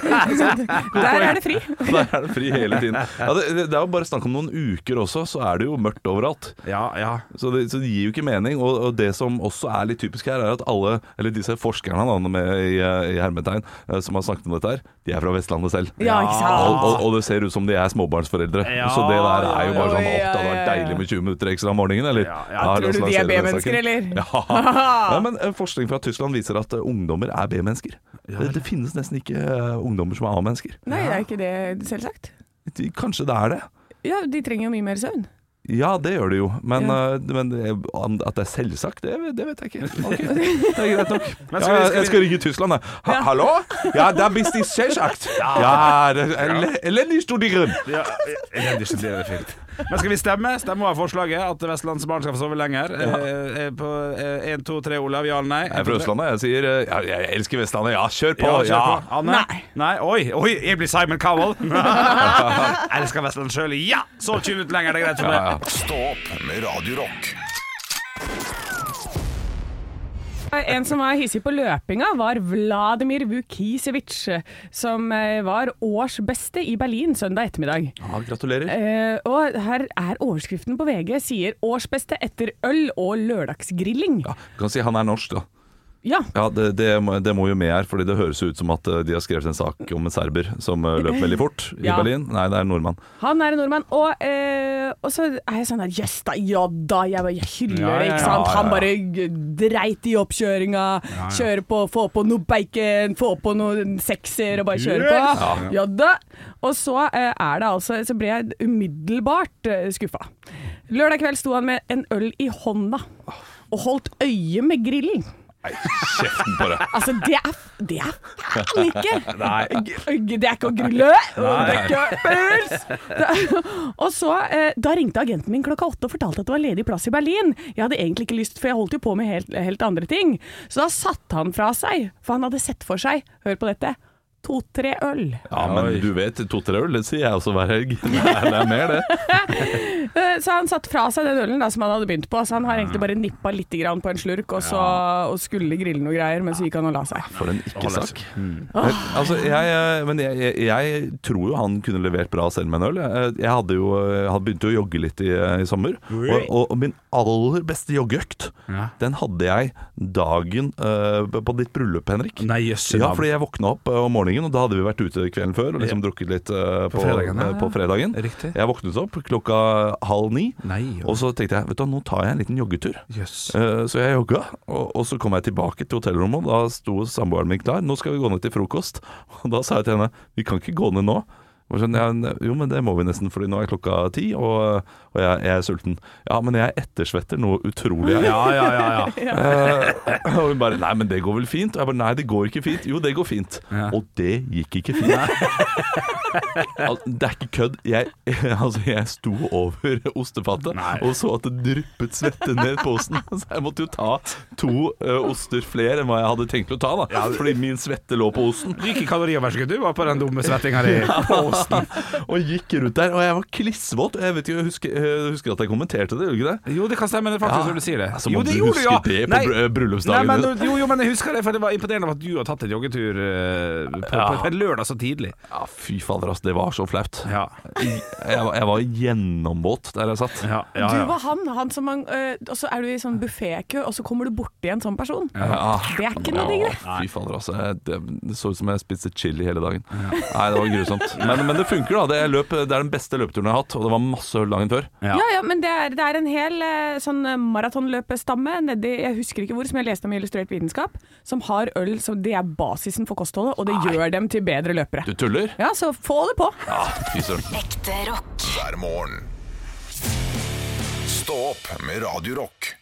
[SPEAKER 5] Der er det fri.
[SPEAKER 4] (laughs) Der er det fri hele tiden. Ja, det, det er jo bare snakk om noen uker også, så er det jo mørkt overalt.
[SPEAKER 3] ja, ja.
[SPEAKER 4] Så det, så det gir jo ikke mening. Og, og det som også er litt typisk her, er at alle, eller disse forskerne han er med i, eh, i hermetegn, eh, som har snakket om dette her, de er fra Vestlandet selv.
[SPEAKER 5] Ja, ikke
[SPEAKER 4] Og,
[SPEAKER 5] sant.
[SPEAKER 4] og, og det ser ut som de er småbarnsforeldre.
[SPEAKER 3] Ja,
[SPEAKER 4] så det der er jo bare sånn Å,
[SPEAKER 5] ja, ja,
[SPEAKER 4] det hadde
[SPEAKER 5] ja,
[SPEAKER 4] vært
[SPEAKER 5] ja.
[SPEAKER 4] deilig med 20 minutter ekstra om morgenen, eller?
[SPEAKER 3] Ja, ja.
[SPEAKER 4] la
[SPEAKER 5] Tror du
[SPEAKER 4] oss
[SPEAKER 5] de er
[SPEAKER 4] lansere den
[SPEAKER 5] B-mennesker,
[SPEAKER 4] saken.
[SPEAKER 5] eller? (laughs)
[SPEAKER 4] Ja. Nei, men eh, Forskning fra Tyskland viser at eh, ungdommer er B-mennesker. det, det finnes nesten ikke eh, ungdommer som er A-mennesker.
[SPEAKER 5] Nei, det er ikke det, selvsagt.
[SPEAKER 4] De- Kanskje det er det.
[SPEAKER 5] Ja, de trenger jo mye mer søvn.
[SPEAKER 4] Ja, det gjør det jo, men,
[SPEAKER 5] Ja.
[SPEAKER 4] eh, men eh, an- at det er selvsagt, det, det vet jeg ikke. Ok, Det er greit nok.
[SPEAKER 3] Men skal vi-
[SPEAKER 4] Ja,
[SPEAKER 3] skal vi-
[SPEAKER 4] jeg skal ringe Tyskland, jeg. Ha, Hallo? Ja, det er visst i selvsagt. Ja, det er en le- elendig stor grunn.
[SPEAKER 3] Ja, elendig stil, det er fint. Men skal vi stemme? Stemme over forslaget at vestlandsbarn skal få sove lenger? Eh, eh, på én, to, tre, Olav. Ja eller nei?
[SPEAKER 4] Jeg er fra Østlandet, jeg sier eh, ja, jeg elsker Vestlandet. Ja, kjør på.
[SPEAKER 3] Ja, kjør
[SPEAKER 4] Ja.
[SPEAKER 3] på. Anne?
[SPEAKER 5] Nei.
[SPEAKER 3] Nei. Oi, oi, jeg blir Simon
[SPEAKER 4] (laughs)
[SPEAKER 3] Cowell. Elsker Vestland sjøl. Ja! Sov 20 minutter lenger, det er greit for
[SPEAKER 4] Ja,
[SPEAKER 3] meg.
[SPEAKER 4] ja.
[SPEAKER 2] Stå opp med Radio Rock.
[SPEAKER 5] En som var hissig på løpinga, var Vladimir Vukisevic, som eh, var årsbeste i Berlin søndag ettermiddag.
[SPEAKER 4] Ja, gratulerer.
[SPEAKER 5] Eh, og her er overskriften på VG sier 'årsbeste etter øl og lørdagsgrilling'.
[SPEAKER 4] Ja, du kan si han er norsk, da.
[SPEAKER 5] Ja,
[SPEAKER 4] Ja, det, det, må, det må jo med her, fordi det høres jo ut som at eh, de har skrevet en sak om en serber som eh, løp veldig fort i
[SPEAKER 5] Ja.
[SPEAKER 4] Berlin. Nei, det er en nordmann.
[SPEAKER 5] han er en nordmann. Og, eh, og så er jeg sånn der Jøss da, ja da. Jeg, bare- jeg hyller
[SPEAKER 3] Ja,
[SPEAKER 5] det,
[SPEAKER 3] ja,
[SPEAKER 5] ikke
[SPEAKER 3] ja,
[SPEAKER 5] sant.
[SPEAKER 4] ja,
[SPEAKER 5] Han
[SPEAKER 4] ja.
[SPEAKER 5] bare g- dreit i oppkjøringa. Kjører på, få på noe bacon, få på noen sekser og bare kjører
[SPEAKER 3] Yes!
[SPEAKER 5] på. Ja da. Og så eh, er det altså Så ble jeg umiddelbart eh, skuffa. Lørdag kveld sto han med en øl i hånda og holdt øye med grillen.
[SPEAKER 4] Nei, kjeften på deg.
[SPEAKER 5] Altså, det er, det er faen ikke G- Det er ikke å grille, og det er ikke pøls. Det er- Og så, eh, da ringte agenten min klokka åtte og fortalte at det var ledig plass i Berlin. Jeg hadde egentlig ikke lyst, for jeg holdt jo på med helt, helt andre ting. Så da satte han fra seg, for han hadde sett for seg, hør på dette, to-tre øl.
[SPEAKER 4] Ja, men du vet, to-tre øl, det sier jeg også hver helg. (laughs) Nei, det er mer, det.
[SPEAKER 5] Eh, Så han satte fra seg den ølen da, som han hadde begynt på, så han har egentlig bare nippa litt grann på en slurk, og, så, og skulle grille noe greier, men så gikk han og la seg.
[SPEAKER 4] For en ikke-sak. Men, altså, jeg, eh, men jeg, jeg, jeg tror jo han kunne levert bra selv med en øl. Jeg, jeg hadde jo, eh, hadde begynt å jogge litt i, eh, i sommer. Og, og, og min aller beste joggeøkt,
[SPEAKER 3] Ja.
[SPEAKER 4] den hadde jeg dagen eh, på ditt bryllup, Henrik.
[SPEAKER 3] Nei, jøsse
[SPEAKER 4] Ja,
[SPEAKER 3] navn.
[SPEAKER 4] fordi jeg våkna opp eh, om morgenen, og da hadde vi vært ute kvelden før og liksom drukket litt eh, på,
[SPEAKER 3] fredagen, ja,
[SPEAKER 4] eh,
[SPEAKER 3] ja.
[SPEAKER 4] på fredagen.
[SPEAKER 3] Riktig.
[SPEAKER 4] Jeg våknet opp klokka halv ni,
[SPEAKER 3] Nei, ja.
[SPEAKER 4] og så tenkte jeg vet du, hva, nå tar jeg en liten joggetur.
[SPEAKER 3] Jøss.
[SPEAKER 4] Eh, Så jeg jogga, og, og så kom jeg tilbake til hotellrommet, og da sto samboeren min klar. 'Nå skal vi gå ned til frokost.' (laughs) Og da sa jeg til henne 'Vi kan ikke gå ned nå'. Og sånn, ja, ne- jo, men det må vi nesten, fordi nå er klokka ti, og, og jeg, jeg er sulten. Ja, men jeg ettersvetter noe
[SPEAKER 3] (laughs)
[SPEAKER 4] utrolig. Jeg.
[SPEAKER 3] Ja, ja, ja. ja.
[SPEAKER 4] Eh, og hun bare 'Nei, men det går vel fint?' Og jeg bare 'Nei, det går ikke fint'. Jo, det går fint.
[SPEAKER 3] Ja.
[SPEAKER 4] Og det gikk ikke fint. (laughs) Al- det er ikke kødd. Jeg, (laughs) altså, jeg sto over ostefatet
[SPEAKER 3] Nei.
[SPEAKER 4] og så at det dryppet svette ned posen. (laughs) Så jeg måtte jo ta to eh, oster flere enn hva jeg hadde tenkt å ta, da. Fordi min svette lå på osten.
[SPEAKER 3] (laughs) Ryker kalorioverskudd du var på den dumme svettinga di.
[SPEAKER 4] (laughs) og gikk rundt der, og jeg var klissvåt. Jeg vet ikke, jeg husker, jeg husker at jeg kommenterte det, gjorde jeg ikke det?
[SPEAKER 3] Jo, det kan stemme, det er faktisk,
[SPEAKER 4] Ja.
[SPEAKER 3] når du sier det.
[SPEAKER 4] Altså,
[SPEAKER 3] jo,
[SPEAKER 4] man
[SPEAKER 3] det
[SPEAKER 4] bør
[SPEAKER 3] gjorde du,
[SPEAKER 4] huske
[SPEAKER 3] ja.
[SPEAKER 4] det på
[SPEAKER 3] Nei.
[SPEAKER 4] br- bryllupsdagen.
[SPEAKER 3] Nei, men, jo, jo, men jeg husker det, for det var imponerende at du har tatt en joggetur eh, på, på, på en lørdag så tidlig.
[SPEAKER 4] Ja, fy fader, ass, det var så flaut.
[SPEAKER 3] Ja.
[SPEAKER 4] Jeg, var- jeg var gjennomvåt der jeg satt.
[SPEAKER 3] Ja, ja,
[SPEAKER 5] Du
[SPEAKER 3] ja.
[SPEAKER 5] var han, han som man, eh, og så er du i sånn buffékø, og så kommer du borti en sånn person.
[SPEAKER 4] Ja.
[SPEAKER 5] Det er ikke noe digg, det.
[SPEAKER 4] Å, Fy fader, altså. Jeg- Det, det så ut som jeg spiste chili hele dagen. Nei, det var grusomt. Men, men det funker, da. Det, er løp, det er den beste løpeturen jeg har hatt, og det var masse øl dagen før.
[SPEAKER 3] Ja.
[SPEAKER 5] Ja, ja, men det er, det er en hel eh, sånn eh, maratonløpestamme nedi, jeg husker ikke hvor, som jeg leste om i Illustrert vitenskap, som har øl som det er basisen for kostholdet, og det gjør dem til bedre løpere.
[SPEAKER 4] Du tuller?
[SPEAKER 5] Ja, så få det på.
[SPEAKER 4] Ja, fy søren.
[SPEAKER 7] Ekte rock.
[SPEAKER 2] hver morgen. Stå opp med Radio Rock.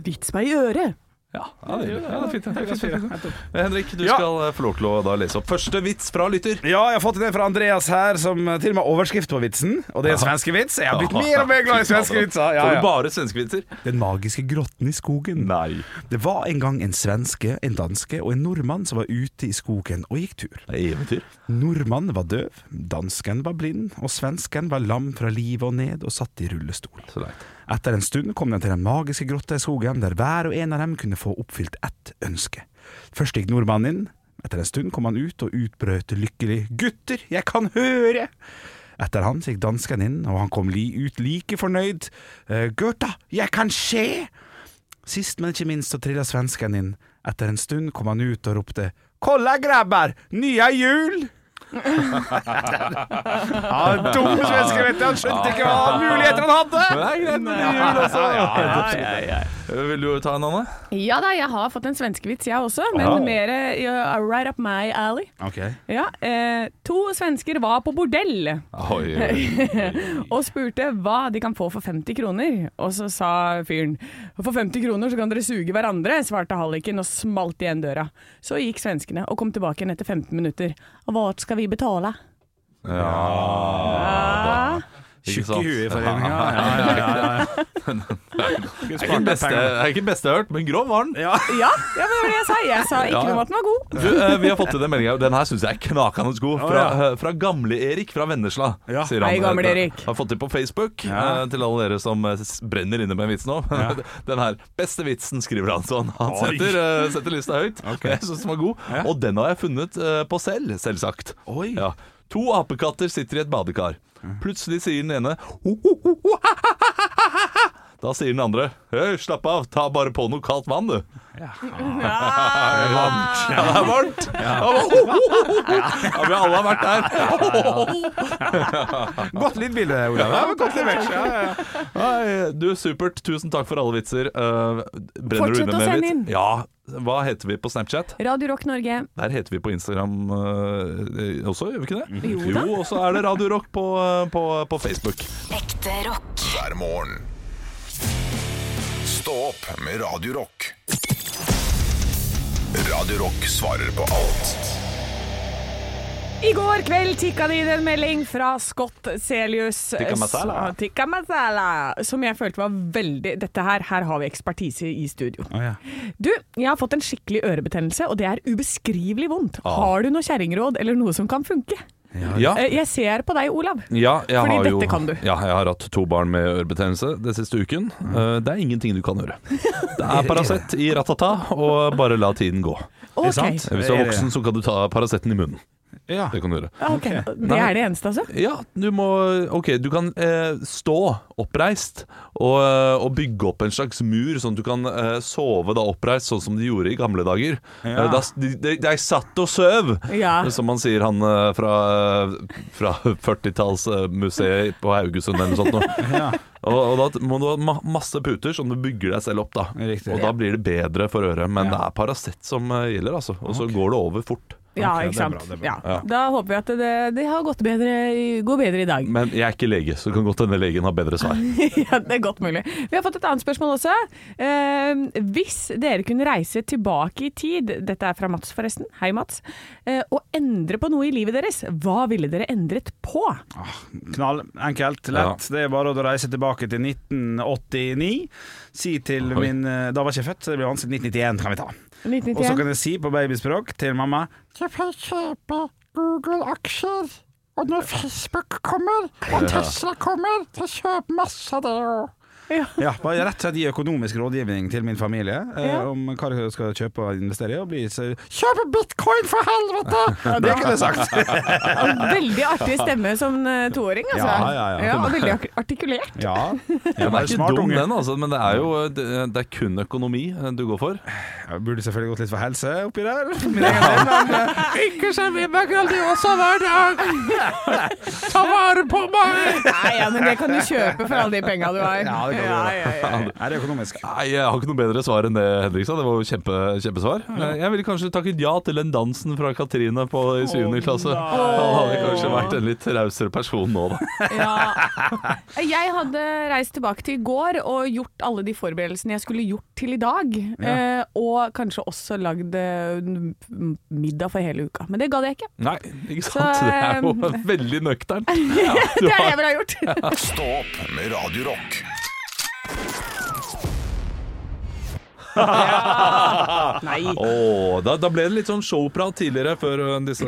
[SPEAKER 5] Vits meg i øret!
[SPEAKER 4] Ja, ja, det er fint, det er fint, det er fint.
[SPEAKER 3] Ja,
[SPEAKER 4] Henrik, du
[SPEAKER 3] Ja.
[SPEAKER 4] skal eh, få lov til å da lese opp første vits fra lytter.
[SPEAKER 3] jeg har fått en fra Andreas her, som eh, til og med har overskrift på vitsen. Og det er svenskevits. Jeg har blitt mer og mer glad i svenske vitser. Ja,
[SPEAKER 4] Får du
[SPEAKER 3] ja.
[SPEAKER 4] bare svenskevitser?
[SPEAKER 3] Den magiske grotten i skogen.
[SPEAKER 4] Nei.
[SPEAKER 3] Det var en gang en svenske, en danske og en nordmann som var ute i skogen og gikk tur.
[SPEAKER 4] Det er eventyr.
[SPEAKER 3] Nordmannen var døv, dansken var blind, og svensken var lam fra livet og ned og satt i rullestol.
[SPEAKER 4] Så leit.
[SPEAKER 3] Etter en stund kom den til den magiske grotta i skogen, der hver og en av dem kunne få oppfylt ett ønske. Først gikk nordmannen inn, etter en stund kom han ut og utbrøt lykkelig 'Gutter, jeg kan høre!' Etter han gikk dansken inn, og han kom li ut like fornøyd. «Eh, 'Gurta, jeg kan se!' Sist, men ikke minst, så trilla svensken inn. Etter en stund kom han ut og ropte 'Kolla, grabbar! Nya hjul!'
[SPEAKER 4] (laughs)
[SPEAKER 3] ja, dum svenske, vet du. Han skjønte ikke
[SPEAKER 4] (laughs)
[SPEAKER 3] hva muligheter han hadde!
[SPEAKER 4] Men det er greit med ny jul
[SPEAKER 3] altså.
[SPEAKER 4] (laughs) også. Eh, Vil du ta en, Anne?
[SPEAKER 5] Ja da, jeg har fått en svenskevits jeg også, men
[SPEAKER 4] Ja.
[SPEAKER 5] mer eh, right up my alley.
[SPEAKER 3] Ok.
[SPEAKER 5] Ja, eh, to svensker var på bordell
[SPEAKER 4] Oi, oi.
[SPEAKER 5] og spurte hva de kan få for 50 kroner. Og så sa fyren for 50 kroner så kan dere suge hverandre, svarte halliken og smalt igjen døra. Så gikk svenskene og kom tilbake igjen etter 15 minutter. Og hva skal vi betale? Ja.
[SPEAKER 4] Ikke
[SPEAKER 3] Tjukk
[SPEAKER 4] sant?
[SPEAKER 3] i huet i foreninga. Ja, ja, ja, ja.
[SPEAKER 4] Det er ikke den beste- det er ikke den beste jeg har hørt, men grov var den.
[SPEAKER 5] Ja, ja, men det var det jeg sa. Jeg sa ikke
[SPEAKER 4] Ja.
[SPEAKER 5] noe om at den var god.
[SPEAKER 4] Du, eh, vi har fått til den meldinga. Den her syns jeg er knakende god. Fra, eh, fra Gamle-Erik fra Vennesla.
[SPEAKER 3] Ja.
[SPEAKER 4] sier
[SPEAKER 5] Hei, Gamle
[SPEAKER 4] Eh,
[SPEAKER 5] Erik.
[SPEAKER 4] Har fått til på Facebook
[SPEAKER 3] Ja.
[SPEAKER 4] eh, til alle dere som eh, s- brenner inne med en vits nå. (laughs) den her. Beste vitsen, skriver han sånn. Han
[SPEAKER 3] Oi.
[SPEAKER 4] setter, eh, setter lista
[SPEAKER 3] (laughs)
[SPEAKER 4] høyt. Jeg syns den var god. Og den har jeg funnet eh, på selv, selvsagt.
[SPEAKER 3] Oi.
[SPEAKER 4] Ja. To apekatter sitter i et badekar. Plutselig sier den ene «Ho, ho, ho, ho, ha, ha, ha, ha, ha, ha, ha!» Da sier den andre Hei, slapp av, ta bare på noe kaldt vann, du. Ja, det er varmt! Ja. Ja, vi alle har vært der.
[SPEAKER 3] Godt lydbilde, Olav. Ja, men godt levert. Ja, ja, ja.
[SPEAKER 4] Nei, Du, supert. Tusen takk for alle vitser. Eh, Brenner du
[SPEAKER 5] Fortsett å
[SPEAKER 4] inne med en
[SPEAKER 5] sende inn.
[SPEAKER 4] vits? Ja. Hva heter vi på Snapchat?
[SPEAKER 5] Radio Rock Norge.
[SPEAKER 4] Der heter vi på Instagram eh, også, gjør vi ikke det?
[SPEAKER 5] Jo da.
[SPEAKER 4] og så er det Radio Rock på, eh, på, på Facebook.
[SPEAKER 7] Ekte rock.
[SPEAKER 2] hver morgen. Stå opp med Radio Rock. Radio Rock svarer på alt
[SPEAKER 5] I går kveld tikka det inn en melding fra Scott Celius.
[SPEAKER 4] Tikka masala.
[SPEAKER 5] Så- Tikka masala. Som jeg følte var veldig Dette her, her har vi ekspertise i studio.
[SPEAKER 3] Å, ja.
[SPEAKER 5] Du, jeg har fått en skikkelig ørebetennelse, og det er ubeskrivelig vondt.
[SPEAKER 3] Ah.
[SPEAKER 5] Har du noe kjerringråd eller noe som kan funke?
[SPEAKER 4] Ja.
[SPEAKER 5] Eh, Jeg ser på deg, Olav.
[SPEAKER 4] Ja, jeg
[SPEAKER 5] Fordi
[SPEAKER 4] har jo,
[SPEAKER 5] dette kan du.
[SPEAKER 4] Ja, jeg har hatt to barn med ørebetennelse den siste uken.
[SPEAKER 5] Mm.
[SPEAKER 4] Eh, det er ingenting du kan
[SPEAKER 5] (laughs)
[SPEAKER 4] gjøre. Det er Paracet i ratata, og bare la tiden gå.
[SPEAKER 5] Ok.
[SPEAKER 3] sant?
[SPEAKER 4] Hvis du er voksen, så kan du ta Paraceten i munnen.
[SPEAKER 3] Ja.
[SPEAKER 4] Det kan du gjøre.
[SPEAKER 5] Ok, Det
[SPEAKER 4] Nei.
[SPEAKER 5] er det eneste, altså?
[SPEAKER 4] Ja, du må Ok, du kan eh, stå oppreist og, eh, og bygge opp en slags mur, sånn at du kan eh, sove da oppreist, sånn som de gjorde i gamle dager.
[SPEAKER 3] Ja.
[SPEAKER 4] Eh, da, de, de, de satt og søv,
[SPEAKER 5] Ja.
[SPEAKER 4] som man sier han eh, fra, fra (laughs) 40-tallsmuseet på Haugesund eller noe sånt. Noe.
[SPEAKER 3] (laughs) Ja.
[SPEAKER 4] Og, og da må du ha ma- masse puter som du bygger deg selv opp, da.
[SPEAKER 3] Riktig.
[SPEAKER 4] Og da blir det bedre for øret. Men det er Paracet som eh, gjelder, altså. Og så går det over fort.
[SPEAKER 5] Ja,
[SPEAKER 3] Ok,
[SPEAKER 5] ikke
[SPEAKER 3] det er bra,
[SPEAKER 5] sant.
[SPEAKER 3] det er bra.
[SPEAKER 5] Ja. Da håper vi at det, det har gått bedre, i- går bedre i dag. (laughs)
[SPEAKER 4] Men jeg er ikke lege, så det kan godt hende legen har bedre svar.
[SPEAKER 5] ja, det er godt mulig. Vi har fått et annet spørsmål også. Eh, hvis dere kunne reise tilbake i tid, dette er fra Mats forresten, hei Mats, eh, og endre på noe i livet deres, hva ville dere endret på?
[SPEAKER 3] Knall, enkelt, lett. Det er bare å reise tilbake til 1989. Si til
[SPEAKER 4] Oi.
[SPEAKER 3] min eh, Da var ikke jeg født, så det blir vanskelig. 1991 kan vi ta. Og så
[SPEAKER 5] 1991.
[SPEAKER 3] kan jeg si på babyspråk til mamma
[SPEAKER 8] Jeg får kjøpe Google-aksjer. Og når Facebook kommer, og Tesla kommer, så kjøp masse av det òg.
[SPEAKER 3] Ja, bare rett og slett gi økonomisk rådgivning til min familie eh,
[SPEAKER 5] Ja.
[SPEAKER 3] om hva jeg skal kjøpe og investere i. Og bli så
[SPEAKER 8] Kjøp bitcoin, for helvete!
[SPEAKER 3] Det kunne jeg sagt.
[SPEAKER 5] Veldig artig stemme som eh, toåring, altså.
[SPEAKER 3] Ja, ja, ja.
[SPEAKER 5] og veldig ak- artikulert.
[SPEAKER 3] Ja,
[SPEAKER 4] Ja,
[SPEAKER 3] jeg
[SPEAKER 4] den
[SPEAKER 3] var
[SPEAKER 4] er ikke
[SPEAKER 3] smart
[SPEAKER 4] dum
[SPEAKER 3] unge.
[SPEAKER 4] den, altså, men det er jo det, det er kun økonomi eh, du går for.
[SPEAKER 3] Jeg burde selvfølgelig gått litt for helse oppi der. Min egen del, men eh,
[SPEAKER 8] Ikke server meg Grandiosa
[SPEAKER 5] (laughs)
[SPEAKER 8] hver dag! Ta vare på meg!
[SPEAKER 5] Nei, ja, men det kan du kjøpe for alle de penga du har.
[SPEAKER 3] Ja, det å
[SPEAKER 5] Ja,
[SPEAKER 3] gjøre.
[SPEAKER 5] ja, ja.
[SPEAKER 3] Er det økonomisk?
[SPEAKER 4] Nei, Jeg har ikke noe bedre svar enn det, Henrikstad. Det var jo kjempe, kjempesvar. Eh, Jeg ville kanskje takket ja til den dansen fra Katrine på, i 7. klasse. Han hadde kanskje vært en litt rausere person nå, da.
[SPEAKER 5] Ja. Jeg hadde reist tilbake til i går og gjort alle de forberedelsene jeg skulle gjort til i dag. Eh, og kanskje også lagd eh, middag for hele uka. Men det gadd jeg ikke.
[SPEAKER 4] (laughs) Nei, ikke sant?
[SPEAKER 5] Så,
[SPEAKER 4] det er jo
[SPEAKER 5] eh,
[SPEAKER 4] veldig (laughs) nøkternt.
[SPEAKER 5] det er det jeg ville ha gjort.
[SPEAKER 3] (laughs)
[SPEAKER 2] Stå opp med Radio Rock.
[SPEAKER 5] Nei.
[SPEAKER 4] Åh, da, da ble det litt sånn showprat tidligere før eh, disse,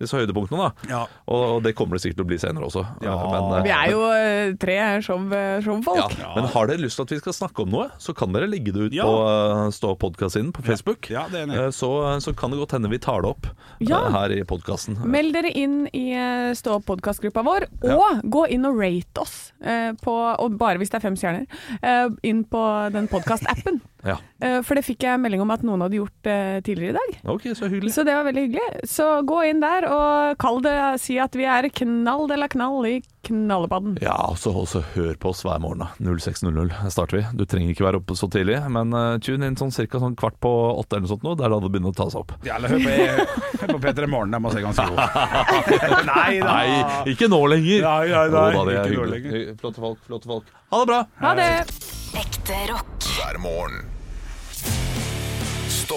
[SPEAKER 4] disse høydepunktene, da.
[SPEAKER 3] Ja.
[SPEAKER 4] Og, og det kommer det sikkert til å bli senere også.
[SPEAKER 3] Ja.
[SPEAKER 4] eh,
[SPEAKER 5] Vi er jo eh, tre eh, show,
[SPEAKER 4] ja.
[SPEAKER 5] showfolk.
[SPEAKER 4] Men har dere lyst til at vi skal snakke om noe, så kan dere legge det ut
[SPEAKER 3] Ja.
[SPEAKER 4] på eh, Stå podkast-siden på Facebook.
[SPEAKER 3] Ja, det er enig.
[SPEAKER 4] Eh, Så, så kan det godt hende vi tar det opp eh,
[SPEAKER 5] Ja.
[SPEAKER 4] her i podkasten.
[SPEAKER 5] Meld dere inn i eh, Stå opp-podkastgruppa vår, og gå inn og rate oss, eh, på, og bare hvis det er fem stjerner, eh, inn på den podkast-appen.
[SPEAKER 4] Ja.
[SPEAKER 5] (laughs) Eh, for det fikk jeg melding om at noen hadde gjort eh, tidligere i dag.
[SPEAKER 4] Ok, så hyggelig.
[SPEAKER 5] Så det var veldig hyggelig. Så gå inn der og kall det, si at vi er knall de la knall i knallepadden.
[SPEAKER 4] Ja, og så og så hør på oss hver morgen. da. 06.00 starter vi. Du trenger ikke være oppe så tidlig, men eh, tune inn sånn cirka sånn kvart på åtte eller noe sånt nå. Det er da det begynner å ta seg opp.
[SPEAKER 3] Ja, eller hør på, E- hør på Peter i morgen, de må se ganske god. Nei da.
[SPEAKER 4] Nei, ikke nå lenger!
[SPEAKER 3] Nei, nei, nei,
[SPEAKER 4] Jo da, det er
[SPEAKER 3] ikke nå
[SPEAKER 4] hyggelig. Flotte folk, flotte folk. Ha det bra!
[SPEAKER 5] Ha det!
[SPEAKER 7] Ekte rock.
[SPEAKER 2] hver morgen. Stå